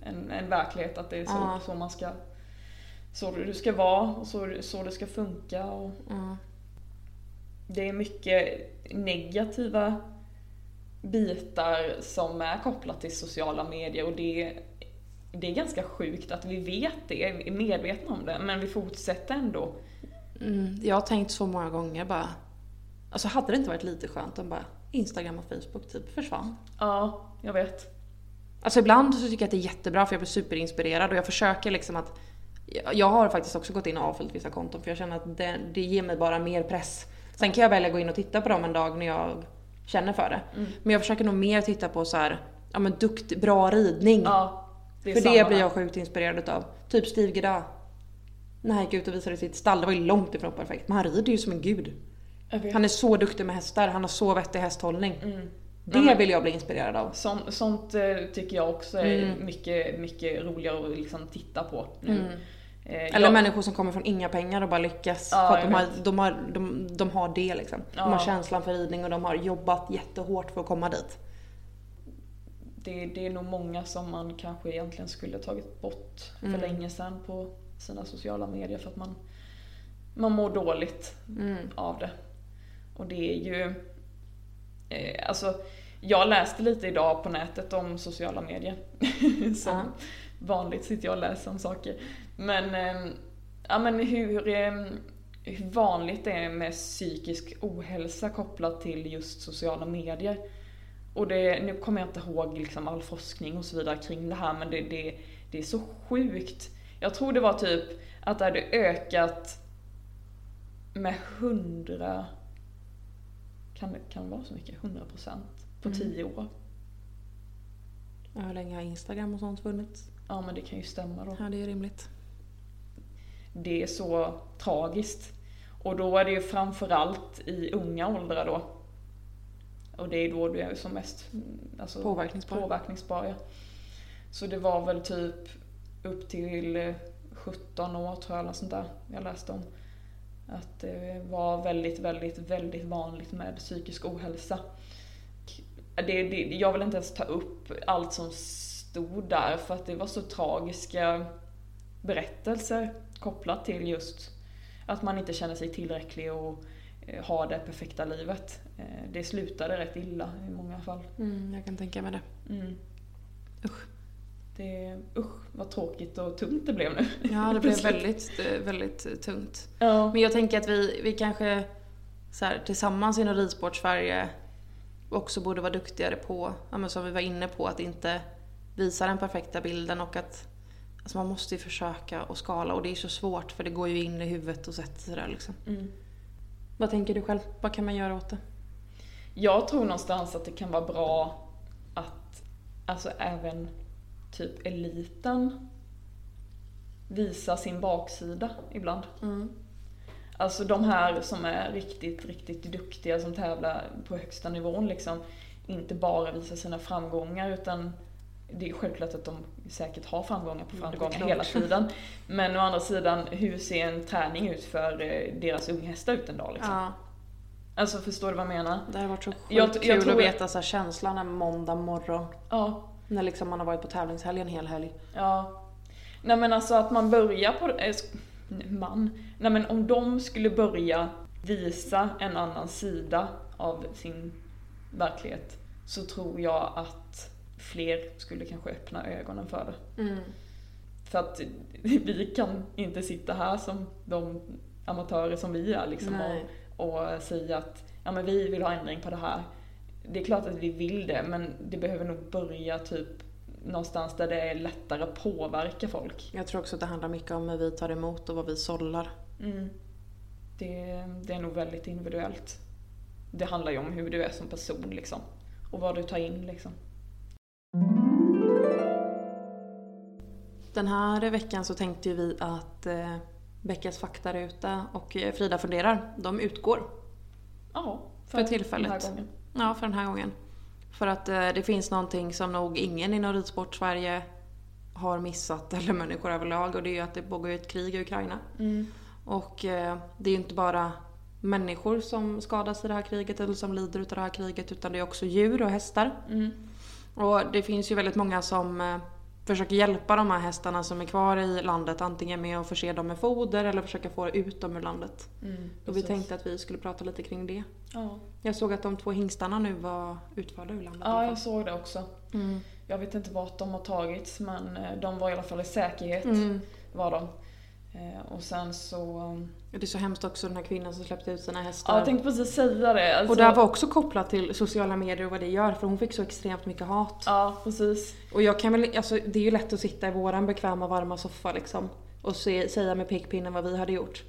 A: en, en verklighet att det är så,
B: Ja.
A: så man ska, så du ska vara och så, så det ska funka och
B: Ja.
A: det är mycket negativa bitar som är kopplat till sociala medier och det, det är ganska sjukt att vi vet det, är medvetna om det, men vi fortsätter ändå.
B: Mm, jag har tänkt så många gånger bara... Alltså hade det inte varit lite skönt om bara Instagram och Facebook typ försvann?
A: Ja, jag vet.
B: Alltså ibland så tycker jag att det är jättebra för jag blir superinspirerad och jag försöker liksom att... jag- Jag har faktiskt också gått in och avföljt vissa konton för jag känner att det, det ger mig bara mer press. Sen kan jag välja att gå in och titta på dem en dag när jag känner för det.
A: Mm.
B: Men jag försöker nog mer titta på så här, ja men dukt, bra ridning.
A: Ja, det är
B: för
A: samma
B: det blir
A: där.
B: jag sjukt inspirerad utav. Typ Steve Geda. När han gick ut och visade sitt stall, det var ju långt ifrån perfekt men han rider ju som en gud.
A: Jag vet.
B: Han är så duktig med hästar, han har så vettig hästhållning.
A: Mm.
B: Det
A: Nej, men-
B: vill jag bli inspirerad av.
A: Sånt, sånt eh, tycker jag också är
B: Mm.
A: mycket, mycket roligare att liksom titta på nu.
B: Mm.
A: Eh,
B: Eller
A: jag-
B: människor som kommer från inga pengar och bara lyckas.
A: Ja,
B: för att
A: jag
B: de har,
A: vet.
B: de, har, de, de har det liksom.
A: Ja.
B: De har känslan för ridning och de har jobbat jättehårt för att komma dit.
A: det, det är nog många som man kanske egentligen skulle tagit bort för
B: Mm.
A: länge sedan på sina sociala medier för att man, man mår dåligt
B: Mm.
A: av det. Och det är ju... Eh, alltså, jag läste lite idag på nätet om sociala medier. Som
B: Ja.
A: vanligt sitter jag och läser om saker. Men, eh, ja, men hur, eh, hur vanligt det är med psykisk ohälsa kopplat till just sociala medier. Och det, nu kommer jag inte ihåg liksom all forskning och så vidare kring det här men det, det, det är så sjukt. Jag tror det var typ att det hade ökat med 100... Kan, det- kan det vara så mycket? 100% på
B: Mm.
A: 10 år?
B: Ja, Hur länge har Instagram och sånt funnits?
A: Ja men det kan ju stämma då.
B: Ja, det är rimligt.
A: Det är så tragiskt. Och då är det ju framförallt i unga åldrar då. Och det är då du är som mest mm, alltså,
B: Påverkningsbar.
A: påverkningsbar. Ja. Så det var väl typ upp till eh, 17 år tror jag, eller sånt där jag läste om. Att det var väldigt, väldigt, väldigt vanligt med psykisk ohälsa. Och Det, det, jag vill inte ens ta upp allt som stod där för att det var så tragiska berättelser kopplat till just att man inte känner sig tillräcklig och eh, har det perfekta livet. Eh, Det slutade rätt illa i många fall.
B: Mm, jag kan tänka mig det.
A: Mm.
B: Usch.
A: Det, usch, vad tråkigt och tungt det blev nu.
B: Ja, det blev
A: Plötsligt.
B: väldigt, eh, väldigt tungt.
A: Ja.
B: Men jag tänker att vi, vi kanske så här, tillsammans inom Ridsport-Sverige också borde vara duktigare på, ja, men som vi var inne på, att inte visa den perfekta bilden och att alltså man måste ju försöka och skala och det är så svårt för det går ju in i huvudet och sätter sig där liksom.
A: Mm.
B: Vad tänker du själv? Vad kan man göra åt det?
A: Jag tror någonstans att det kan vara bra att alltså även typ eliten visar sin baksida ibland.
B: Mm.
A: Alltså de här som är riktigt, riktigt duktiga som tävlar på högsta nivån liksom. Inte bara visar sina framgångar utan det är självklart att de säkert har framgångar på
B: Ja, Mm, det är
A: framgångar
B: klart.
A: hela tiden. Men å andra sidan, hur ser en träning ut för eh, deras unghästar ut en dag liksom?
B: Ja,
A: Alltså förstår du vad jag menar?
B: det har varit så sjukt
A: Jag- jag
B: kul
A: tror-
B: att veta så här, känslan en måndag morgon
A: Ja,
B: när liksom man har varit på tävlingshelg en hel helg.
A: ja. Nej men alltså att man börjar på... eh, sk- nej, Man. Nej men om de skulle börja visa en annan sida av sin verklighet så tror jag att fler skulle kanske öppna ögonen för det.
B: Mm.
A: För att vi kan inte sitta här som de amatörer som vi är liksom
B: Nej.
A: och, och säga att ja, men vi vill ha ändring på det här. Det är klart att vi vill det men det behöver nog börja typ någonstans där det är lättare att påverka folk.
B: Jag tror också att det handlar mycket om hur vi tar emot och vad vi sållar.
A: Mm. Det, det är nog väldigt individuellt. Det handlar ju om hur du är som person liksom. Och vad du tar in liksom.
B: Den här veckan så tänkte ju vi att eh, Beckas faktaruta och eh, Frida funderar, de utgår.
A: Ja,
B: För tillfället.
A: Den här gången.
B: Ja, för den här gången. För att eh, det finns någonting som nog ingen inom ridsport Sverige har missat, eller människor överlag, och det är ju att det pågår ju ett krig i Ukraina.
A: Mm.
B: Och eh, det är ju inte bara människor som skadas i det här kriget eller som lider av det här kriget utan det är också djur och hästar.
A: Mm.
B: Och det finns ju väldigt många som eh, försöker hjälpa de här hästarna som är kvar i landet antingen med att förse dem med foder eller försöka få ut dem ur landet.
A: Mm.
B: Och vi
A: precis.
B: tänkte att vi skulle prata lite kring det.
A: Ja,
B: Jag såg att de två hingstarna nu var utförda ur landet. i
A: ja
B: alla
A: jag
B: fall.
A: såg det också.
B: Mm.
A: Jag vet inte vart de har tagits men eh, de var i alla fall i säkerhet.
B: Mm.
A: Var de. Eh, Och sen så... eh,
B: Och Det är så hemskt också den här kvinnan som släppte ut sina hästar.
A: Ja, jag tänkte precis säga det. Alltså,
B: Och det här var också kopplat till sociala medier och vad det gör för hon fick så extremt mycket hat.
A: Ja, precis.
B: Och jag kan väl, alltså, det är ju lätt att sitta i våran bekväma varma soffa liksom och se, säga med pekpinnen vad vi hade gjort.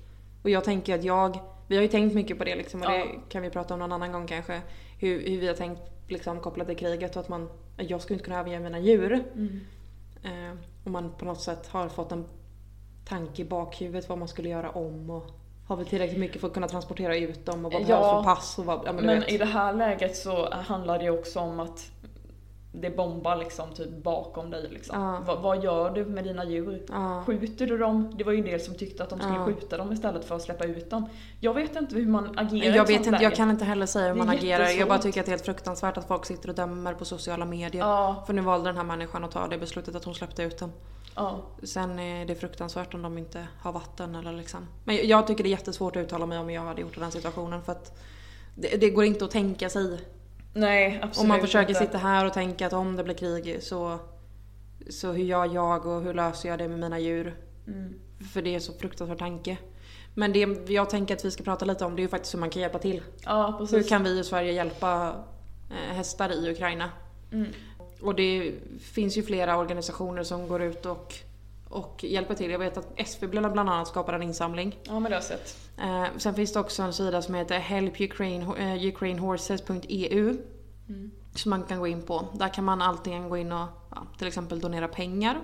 B: Och jag tänker att jag, vi har ju tänkt mycket på det liksom och
A: Ja.
B: det kan vi prata om någon annan gång kanske. Hur, hur vi har tänkt liksom kopplat till kriget och att man, att jag skulle inte kunna överge mina djur.
A: Mm.
B: Eh, och man på något sätt har fått en tanke i bakhuvudet vad man skulle göra om och har vi tillräckligt mycket för att kunna transportera ut dem och vad
A: Eh, Ja.
B: behövs för pass och vad, ja men,
A: Men,
B: du vet.
A: i det här läget så handlar det ju också om att det bombar liksom typ bakom dig. Liksom.
B: Ja.
A: Vad- vad gör du med dina djur?
B: Ja.
A: Skjuter du dem? Det var ju en del som tyckte att de skulle
B: Ja.
A: skjuta dem istället för att släppa ut dem. Jag vet inte hur man agerar i
B: Jag
A: ett
B: vet
A: sånt
B: inte, jag
A: läge.
B: kan inte heller säga hur
A: Det är
B: man agerar. Jag bara
A: jättesvårt.
B: tycker att det är helt fruktansvärt att folk sitter och dömer på sociala medier.
A: Ja,
B: För nu valde den här människan att ta det beslutet att hon släppte ut dem.
A: ja.
B: Sen är det fruktansvärt om de inte har vatten eller liksom. Men jag tycker det är jättesvårt att uttala mig om jag hade gjort i den situationen för att det, det går inte att tänka sig.
A: Nej, absolut
B: om man försöker
A: inte.
B: sitta här och tänka att om det blir krig så, så hur gör jag och hur löser jag det med mina djur?
A: Mm.
B: För det är så fruktansvärt tanke. Men det jag tänker att vi ska prata lite om det är ju faktiskt hur man kan hjälpa till.
A: Ja,
B: Hur
A: precis.
B: kan vi i Sverige hjälpa eh, hästar i Ukraina.
A: Mm.
B: Och det finns ju flera organisationer som går ut och, och hjälper till. Jag vet att SV bland annat skapar en insamling.
A: Ja men det har jag sett.
B: Eh, sen finns det också en sida som heter eh, helpukrainehorses.eu E
A: Mm.
B: som man kan gå in på. Där kan man antingen gå in och ja, till exempel donera pengar.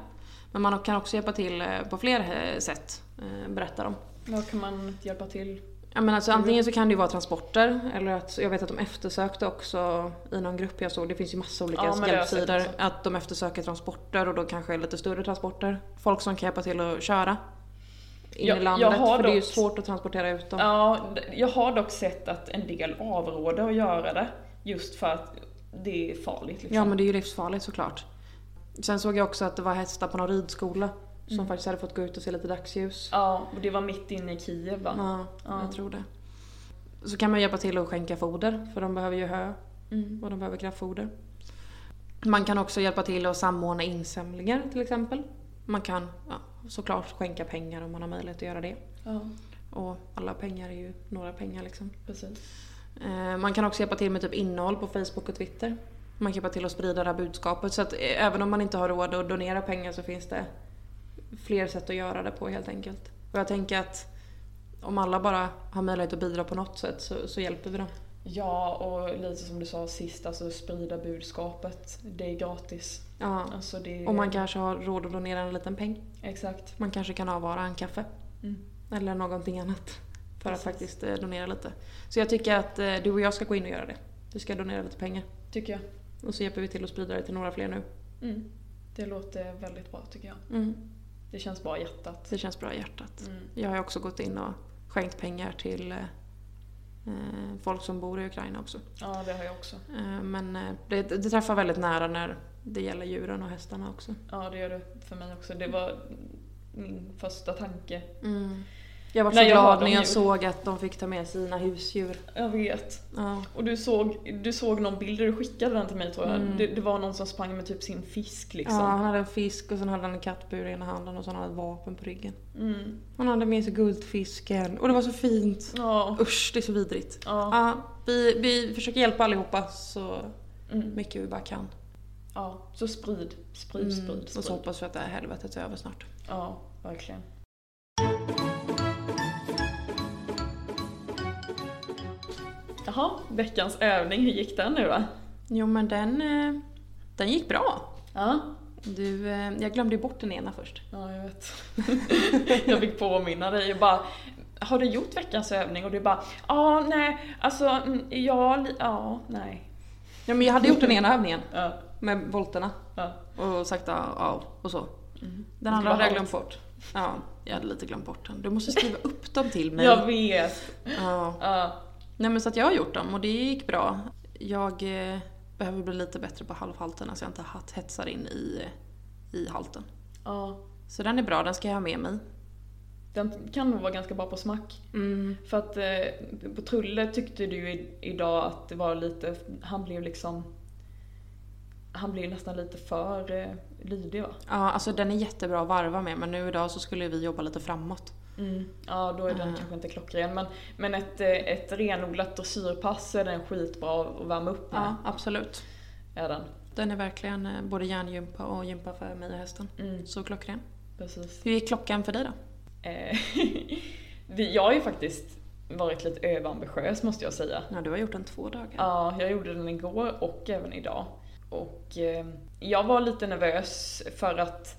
B: Men man kan också hjälpa till eh, på fler eh, sätt, eh, berättar de.
A: Vad kan man hjälpa till?
B: Ja, men
A: Mm.
B: alltså, antingen så kan det ju vara transporter, eller att jag vet att de eftersökte också i någon grupp jag såg, det finns ju massa olika
A: Ja, men det har jag sett
B: hjälpsidor,
A: också.
B: att de eftersöker transporter och då kanske lite större transporter. Folk som kan hjälpa till att köra in
A: Jag- jag
B: i landet,
A: har
B: för det är ju
A: dock-
B: svårt att transportera ut dem.
A: Ja, d- jag har dock sett att en del avråder att göra det. Just för att det är farligt liksom.
B: Ja men det är ju livsfarligt såklart. Sen såg jag också att det var hästar på någon ridskola som
A: Mm.
B: faktiskt hade fått gå ut och se lite dagsljus.
A: Ja, och det var mitt inne i Kiev va?
B: Ja,
A: Ja.
B: jag tror det. Så kan man hjälpa till att skänka foder, för de behöver ju hö
A: Mm.
B: och de behöver kraftfoder. Man kan också hjälpa till att samordna insamlingar till exempel. Man kan ja, såklart skänka pengar om man har möjlighet att göra det.
A: Ja,
B: Och alla pengar är ju några pengar liksom.
A: precis.
B: Eh, Man kan också hjälpa till med typ innehåll på Facebook och Twitter. Man kan hjälpa till att sprida det här budskapet. Så att eh, även om man inte har råd att donera pengar så finns det fler sätt att göra det på helt enkelt. Och jag tänker att om alla bara har möjlighet att bidra på något sätt så, så hjälper vi dem.
A: Ja, och lite som du sa sist, alltså sprida budskapet. Det är gratis.
B: Ja.
A: Alltså det
B: Och man kanske har råd att donera en liten peng.
A: Exakt.
B: Man kanske kan avvara en kaffe.
A: Mm.
B: Eller någonting annat. För
A: Precis.
B: att faktiskt eh, donera lite. Så jag tycker att eh, du och jag ska gå in och göra det. Du ska donera lite pengar.
A: Tycker jag.
B: Och så hjälper vi till att sprida det till några fler nu.
A: Mm. Det låter väldigt bra tycker jag.
B: Mm.
A: Det känns bra i hjärtat.
B: Det känns bra i hjärtat.
A: Mm.
B: Jag har ju också gått in och skänkt pengar till eh, eh, folk som bor i Ukraina också.
A: Ja, det har jag också.
B: Eh, men eh, det, det träffar väldigt nära när det gäller djuren och hästarna också.
A: Ja, det gör det för mig också. Det var min första tanke.
B: Jag var
A: Mm.
B: så
A: Nej, jag har
B: glad
A: dem
B: när jag
A: ju.
B: såg att de fick ta med sina husdjur.
A: Jag vet.
B: Ja.
A: Och du såg, du såg någon bild, du skickade den till mig tror jag.
B: Mm.
A: Det, det var någon som sprang med typ sin fisk liksom.
B: Ja, han hade en fisk och sen hade han en kattbur i ena handen och sen hade han ett vapen på ryggen.
A: Mm.
B: Han hade med sig guldfisken och det var så fint.
A: Ja.
B: Usch, det är så vidrigt.
A: Ja.
B: Ja, vi, vi försöker hjälpa allihopa så
A: Mm.
B: mycket vi bara kan.
A: ja. Så sprid, sprid,
B: Mm,
A: sprid,
B: och så
A: sprid.
B: hoppas vi att det här helvetet är över snart.
A: Ja, verkligen. Jaha, veckans övning, hur gick den nu då?
B: Jo men den, eh, den gick bra.
A: Ja,
B: Du, eh, jag glömde ju bort den ena först.
A: ja jag vet. jag fick påminna dig och bara har du gjort veckans övning? Och du bara, ja nej, alltså, mm, ja, li- ja, nej.
B: Ja men jag hade gjort den ena övningen
A: Ja,
B: med volterna
A: ja.
B: och sakta av och så.
A: Mm.
B: Den andra hade jag glömt
A: på.
B: bort. Ja, jag hade lite glömt bort den. Du måste skriva upp dem till mig.
A: Jag vet.
B: Ja.
A: Ja,
B: Nej men så att jag har gjort dem och det gick bra. Jag eh, behöver bli lite bättre på halvhalten, alltså jag inte hat- hetsar in i, i halten.
A: ja.
B: Så den är bra, den ska jag ha med mig.
A: Den kan nog vara ganska bra på smack.
B: Mm.
A: För att eh, på Trulle tyckte du ju i- idag att det var lite, han blev liksom han blev nästan lite för eh, lydig va?
B: Ja, alltså den är jättebra att varva med men nu idag så skulle vi jobba lite framåt.
A: Ja, då är den
B: Ah.
A: kanske inte klockren. Men, men ett, eh, ett renodlat dressyrpass så är den skitbra att värma upp med.
B: Ja, absolut.
A: Är den.
B: Den är verkligen eh, både järngympa och gympa för mig och hästen.
A: Mm,
B: Så klockren.
A: precis.
B: Hur gick klockan för dig då?
A: Eh, vi- jag har ju faktiskt varit lite överambitiös måste jag säga.
B: Ja, du har gjort den två dagar.
A: Ja, jag gjorde den igår och även idag. Och eh, jag var lite nervös för att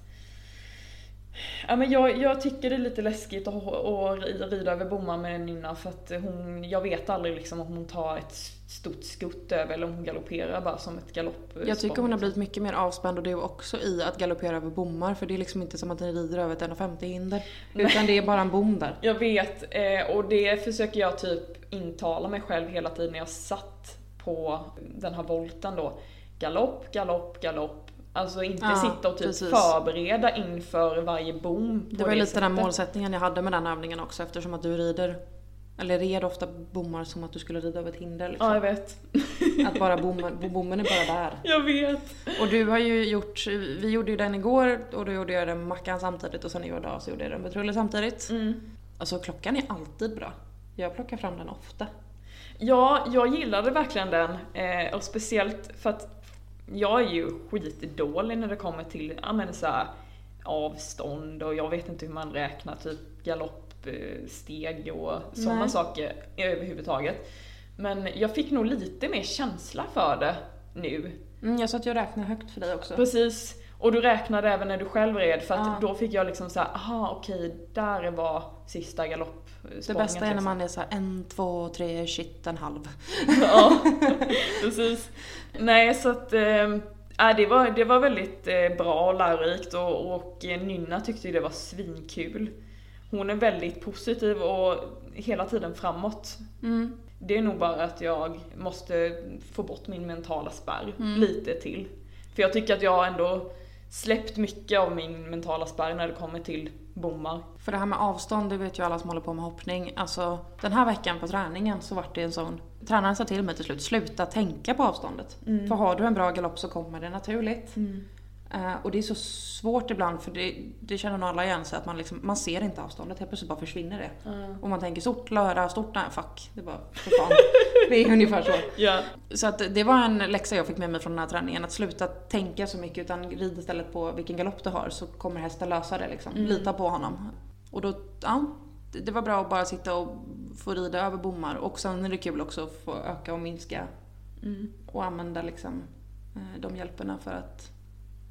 A: Ja, men jag, jag tycker det är lite läskigt att, att rida över bommar med Nina för att hon, jag vet aldrig liksom om hon tar ett stort skutt över eller om hon galopperar bara som ett galopp.
B: Jag tycker hon har blivit mycket mer avspänd och du också i att galoppera över bommar för det är liksom inte som att ni rider över ett 1,50 hinder. Utan det är bara en bom där.
A: Jag vet, eh, och det försöker jag typ intala mig själv hela tiden när jag satt på den här volten då. Galopp, galopp, galopp. Alltså inte
B: Ja,
A: sitta och typ
B: precis.
A: förbereda inför varje bom. på
B: Det var ju lite den
A: sättet.
B: målsättningen jag hade med den övningen också eftersom att du rider, eller red ofta bommar som att du skulle rida över ett hinder.
A: Ja,
B: Liksom.
A: jag vet.
B: Att bara bommen, bo- bommen är bara där.
A: Jag vet.
B: Och du har ju gjort, vi gjorde ju den igår och då gjorde jag den med Mackan samtidigt och sen idag så gjorde jag den med Trulle samtidigt.
A: Mm.
B: Alltså klockan är alltid bra. Jag plockar fram den ofta.
A: Ja, jag gillade verkligen den. Eh, och speciellt för att jag är ju skitdålig när det kommer till ja, men så här, avstånd och jag vet inte hur man räknar typ galoppsteg och sådana
B: Nej.
A: saker överhuvudtaget. Men jag fick nog lite mer känsla för det nu.
B: Mm, jag sa att jag räknar högt för dig också.
A: Precis. Och du räknade även när du själv red för att
B: Ja.
A: då fick jag liksom såhär, aha okej, där var sista galoppspången. typ."
B: Det bästa är när man är så här en, två, tre, shit, en halv.
A: ja, precis. Nej, så att... Eh, äh, det, var, det var väldigt eh, bra och lärorikt och, och eh, Nynna tyckte ju det var svinkul. Hon är väldigt positiv och hela tiden framåt.
B: Mm.
A: Det är nog bara att jag måste få bort min mentala spärr
B: Mm.
A: lite till. För jag tycker att jag har ändå släppt mycket av min mentala spärr när det kommer till bommar.
B: För det här med avstånd, det vet ju alla som håller på med hoppning. Alltså, den här veckan på träningen så vart det en sån... Tränaren sa till mig till slut, sluta tänka på avståndet. För har du en bra galopp så kommer det naturligt. Eh, och det är så svårt ibland, för det, det känner nog alla igen sig att man, liksom, man ser inte avståndet, helt plötsligt bara försvinner det.
A: Ja.
B: Och man tänker stort, lördag, stort, nej fuck. Det var för fan. det är ungefär så.
A: Ja.
B: Så att det var en läxa jag fick med mig från den här träningen, att sluta tänka så mycket utan rid istället på vilken galopp du har så kommer hästen lösa det liksom. Lita på honom. Och då, ja. det- Det var bra att bara sitta och få rida över bommar och sen är det kul också att få öka och minska och använda liksom eh, de hjälperna för att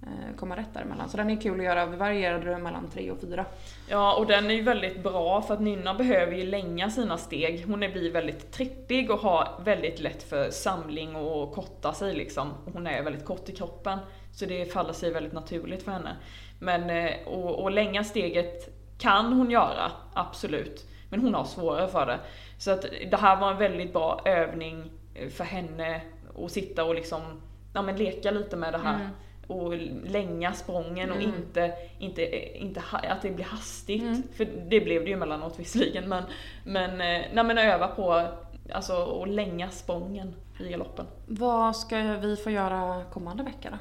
B: eh, komma rätt däremellan. Så den är kul att göra, vi varierade det mellan tre och fyra.
A: Ja, och den är ju väldigt bra för att Nynna behöver ju länga sina steg. Hon är- blir väldigt trippig och har väldigt lätt för samling och korta sig liksom. Hon är väldigt kort i kroppen, så det faller sig väldigt naturligt för henne. Men, eh, och, och länga steget kan hon göra, absolut. Men hon har svårare för det. Så att det här var en väldigt bra övning eh, för henne att sitta och liksom, ja men leka lite med det här.
B: Mm.
A: Och länga sprången och
B: Mm.
A: inte, inte, inte ha- att det blir hastigt.
B: Mm.
A: För det blev det ju emellanåt visserligen men, men, eh, nej, men öva på alltså, och länga sprången i galoppen.
B: Vad ska vi få göra kommande vecka då?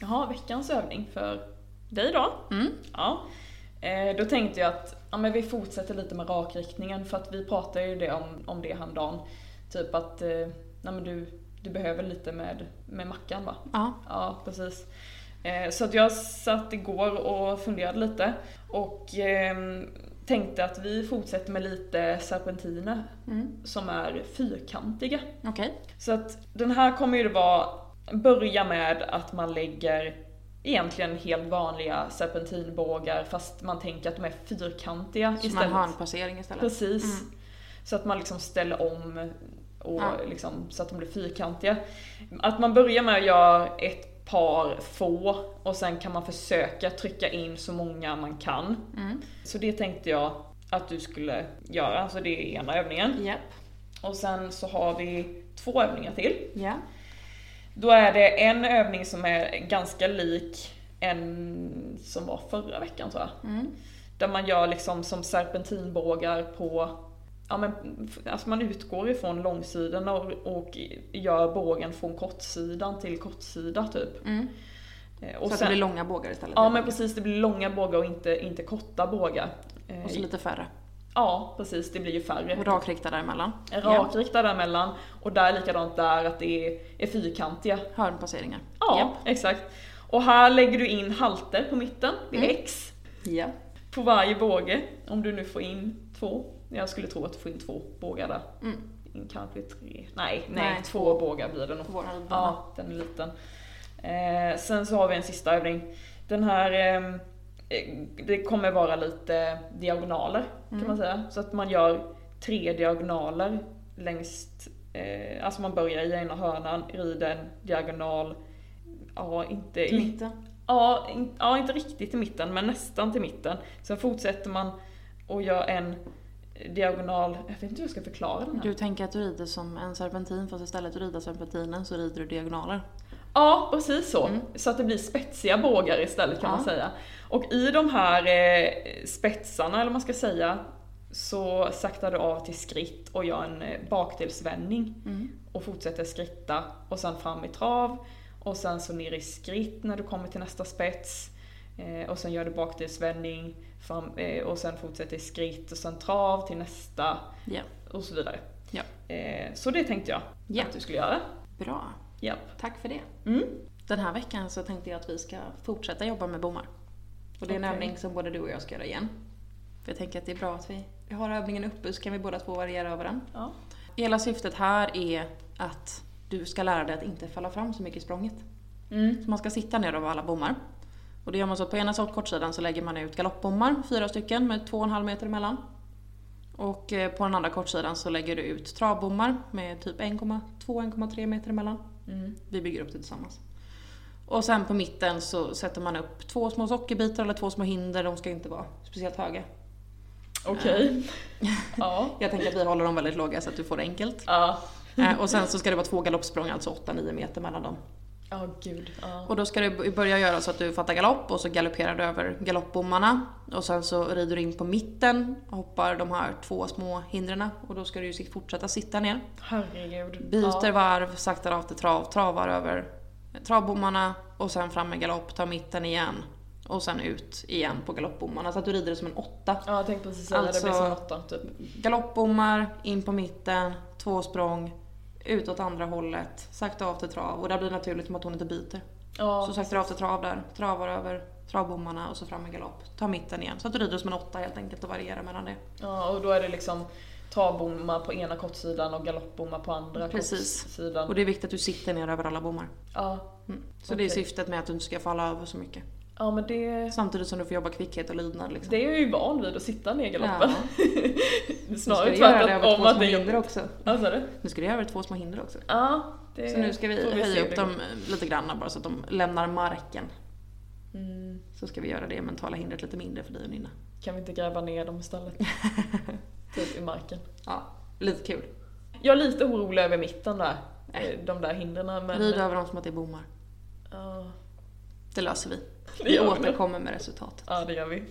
A: Jaha, veckans övning för dig då.
B: Mm.
A: Ja. Eh, Då tänkte jag att ja, men vi fortsätter lite med rakriktningen för att vi pratade ju det om, om det häromdagen. Typ att eh, nej, men du, du behöver lite med, med mackan va?
B: Ja.
A: Ja, precis. Eh, Så att jag satt igår och funderade lite och ehm, tänkte att vi fortsätter med lite serpentiner
B: Mm.
A: som är fyrkantiga.
B: Okej.
A: Så att den här kommer ju det vara, börja med att man lägger egentligen helt vanliga serpentinbågar fast man tänker att de är fyrkantiga
B: Så man
A: istället.
B: har en placering istället.
A: Precis. Så att man liksom ställer om och
B: Ja.
A: liksom, så att de blir fyrkantiga. Att man börjar med att göra ett par få och sen kan man försöka trycka in så många man kan.
B: Mm.
A: Så det tänkte jag att du skulle göra, så det är ena övningen.
B: Japp.
A: Och sen så har vi två övningar till.
B: Ja.
A: Då är det en övning som är ganska lik en som var förra veckan tror jag.
B: Mm.
A: Där man gör liksom som serpentinbågar på, ja men alltså man utgår ifrån långsidan och, och gör bågen från kortsidan till kortsida typ.
B: Mm.
A: Eh,
B: Så
A: Och
B: att det
A: sen,
B: blir långa bågar istället.
A: ja men precis, det blir långa bågar och inte, inte korta bågar. Eh,
B: Och så lite färre.
A: Ja precis, det blir ju
B: Och
A: färre.
B: rakrikta däremellan.
A: Rakriktad däremellan och där likadant där att det är, är fyrkantiga.
B: Ja. Hörnpasseringar.
A: Ja, exakt. Och här lägger du in halter på mitten, det är
B: Mm.
A: X,
B: Ja.
A: på varje båge. Om du nu får in två. Jag skulle tro att du får in två bågar där.
B: Mm.
A: In kanske tre. Nej, nej,
B: Nej,
A: två, bågar blir det nog.
B: På våran rundbana.
A: Ja, den är liten. Eh, sen så har vi en sista övning. Den här, ehm, eh, det kommer vara lite diagonaler kan
B: Mm.
A: man säga. Så att man gör tre diagonaler längs, eh, alltså man börjar i ena hörnan, rider en diagonal, ja inte,
B: Till mitten.
A: ja, in, ja inte riktigt till mitten men nästan till mitten. Sen fortsätter man och gör en diagonal, jag vet inte hur jag ska förklara den här.
B: Du tänker att du rider som en serpentin fast istället för att rida serpentinen så rider du diagonaler.
A: Ja, precis så.
B: Mm.
A: Så att det blir spetsiga bågar istället kan
B: Ja.
A: man säga. Och i de här eh, spetsarna, eller vad man ska säga, så saktar du av till skritt och gör en eh, bakdelsvändning.
B: Mm.
A: och fortsätter skritta och sen fram i trav och sen så ner i skritt när du kommer till nästa spets eh, och sen gör du bakdelsvändning fram, eh, och sen fortsätter i skritt och sen trav till nästa
B: Ja.
A: och så vidare.
B: Ja.
A: Eh, så det tänkte jag
B: Ja.
A: att du skulle göra.
B: Bra.
A: Japp.
B: Tack för det.
A: Mm.
B: Den här veckan så tänkte jag att vi ska fortsätta jobba med bommar. Och det är en
A: Okej.
B: övning som både du och jag ska göra igen. För jag tänker att det är bra att vi, vi har övningen uppe så kan vi båda två variera över den.
A: Ja.
B: Hela syftet här är att du ska lära dig att inte falla fram så mycket i språnget.
A: Mm.
B: Så man ska sitta ner över alla bommar. Och det gör man så att på ena så- kortsidan så lägger man ut galoppbommar, fyra stycken med två och en halv meter emellan. Och eh, på den andra kortsidan så lägger du ut travbommar med typ 1,2-1,3 meter emellan.
A: Mm.
B: Vi bygger upp det tillsammans. Och sen på mitten så sätter man upp två små sockerbitar eller två små hinder, de ska inte vara speciellt höga.
A: Okej. ja.
B: Jag tänker att vi håller dem väldigt låga så att du får det enkelt.
A: Ja.
B: Eh, Och sen så ska det vara två galoppsprång, alltså 8-9 meter mellan dem.
A: Ja, gud. Ja.
B: Och då ska du b- börja göra så att du fattar galopp och så galopperar du över galoppbommarna. Och sen så rider du in på mitten, hoppar de här två små hindren och då ska du ju sit- fortsätta sitta ner.
A: Herregud.
B: Byter
A: ja.
B: varv, saktar av till trav, travar över travbommarna och sen fram med galopp, tar mitten igen. Och sen ut igen på galoppbommarna. Så att du rider det som en åtta.
A: Ja, jag tänkte precis säga det. Det blir
B: Alltså-
A: som åtta, typ.
B: Galoppbommar, in på mitten, två språng, ut åt andra hållet, sakta av till trav. Och där blir det naturligt som att hon inte byter.
A: Ja.
B: Så saktar du av till trav där, travar över travbommarna och så fram med galopp. Ta mitten igen. Så att du rider som en åtta helt enkelt och varierar mellan det.
A: ja, och då är det liksom travbommar på ena kortsidan och galoppbommar på andra
B: Precis.
A: kortsidan.
B: Och det är viktigt att du sitter ner över alla bommar.
A: Ja.
B: Mm. Så det är
A: Okej.
B: syftet med att du inte ska falla över så mycket.
A: ja, men det...
B: Samtidigt som du får jobba kvickhet och lydnad liksom.
A: Det är jag ju van vid att sitta ner i galoppen.
B: Nu ska
A: Snarare
B: du göra det över
A: tvärtom
B: två
A: att
B: små
A: det är
B: hinder
A: jobbigt.
B: också.
A: Ja, sa du?
B: Nu ska du göra över två små hinder också.
A: Ja, det
B: Så nu ska vi
A: får se
B: höja
A: hur
B: upp
A: det
B: dem eh, lite grann bara så att de lämnar marken.
A: går. Mm.
B: Så ska vi göra det mentala hindret lite mindre för dig och Nina.
A: Kan vi inte gräva ner dem istället? typ i marken.
B: Ja, lite kul.
A: Jag är lite orolig över mitten där.
B: Nej.
A: eh, De där hindren. Men...
B: Rid över dem som att det är bommar.
A: Ja,
B: Det löser vi.
A: det
B: Vi
A: gör vi.
B: återkommer med resultatet.
A: Ja, det gör vi.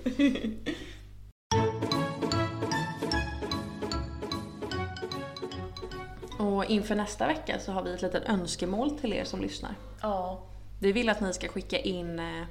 B: Och inför nästa vecka så har vi ett litet önskemål till er som lyssnar.
A: Ja,
B: Vi vill att ni ska skicka in eh,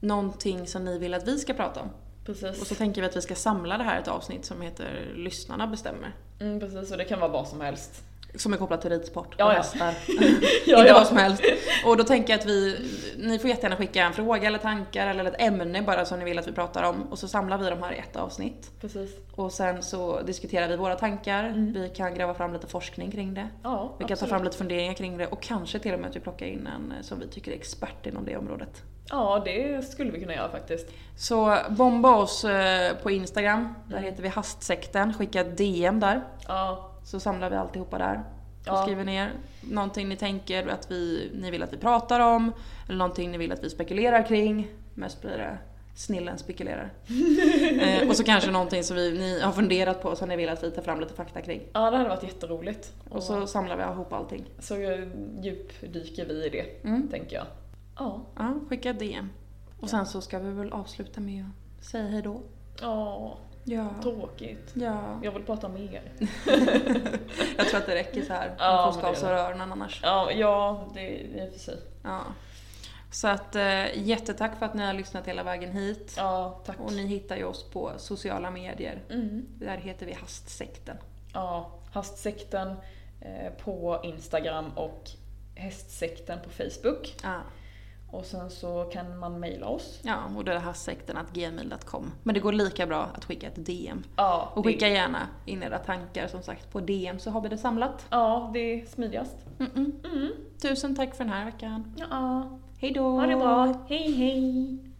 B: någonting som ni vill att vi ska prata om. Och så
A: precis.
B: tänker vi att vi ska samla det här i ett avsnitt som heter Lyssnarna bestämmer.
A: Mm, precis, och det kan vara vad som helst.
B: Som är kopplat till ridsport
A: Ja,
B: och
A: ja.
B: hästar.
A: Ja,
B: Inte
A: ja.
B: vad som helst. Och då tänker jag att vi, ni får jättegärna skicka en fråga eller tankar eller ett ämne bara som ni vill att vi pratar om. Och så samlar vi de här i ett avsnitt.
A: Precis.
B: Och sen så diskuterar vi våra tankar,
A: Mm.
B: vi kan gräva fram lite forskning kring det.
A: Ja,
B: Vi kan ta
A: absolut.
B: fram lite funderingar kring det och kanske till och med att vi plockar in en eh, som vi tycker är expert inom det området.
A: Ja, det skulle vi kunna göra faktiskt.
B: Så bomba oss eh, på Instagram, där
A: Mm.
B: heter vi hastsekten, skicka ett DM där.
A: Ja,
B: Så samlar vi alltihopa där. Och
A: Ja.
B: skriver ner någonting ni tänker att vi, ni vill att vi pratar om, eller någonting ni vill att vi spekulerar kring. Mest blir det snillen spekulerar. eh, och så kanske någonting som vi, ni har funderat på som ni vill att vi tar fram lite fakta kring.
A: ja det hade varit jätteroligt.
B: Och så samlar vi ihop allting.
A: så eh, djupdyker vi i det,
B: Mm.
A: tänker jag. Ja.
B: Ja, skicka ett DM. Och sen så ska vi väl avsluta med att säga hejdå.
A: Ja,
B: Ja.
A: tråkigt.
B: Ja.
A: Jag vill prata mer.
B: Jag tror att det räcker så här.
A: Ja,
B: Man
A: men
B: får
A: det
B: skavsa
A: gör
B: öronen annars.
A: Ja, ja det är för sig.
B: Ja. Så att eh, jättetack för att ni har lyssnat hela vägen hit.
A: Ja, tack.
B: Och ni hittar ju oss på sociala medier.
A: Mm.
B: Där heter vi Hastsekten.
A: Ja, hästsekten eh, på Instagram och hästsekten på Facebook.
B: Ja,
A: Och sen så kan man mejla oss.
B: ja och då är det hastsekten.gmail.com. Men det går lika bra att skicka ett DM.
A: Ja,
B: Och skicka gärna in era tankar som sagt på DM så har vi det samlat.
A: Ja, det är smidigast. Mm.
B: Mm-mm. Tusen tack för den här veckan.
A: Ja,
B: Hej då!
A: ha det bra. Hej hej!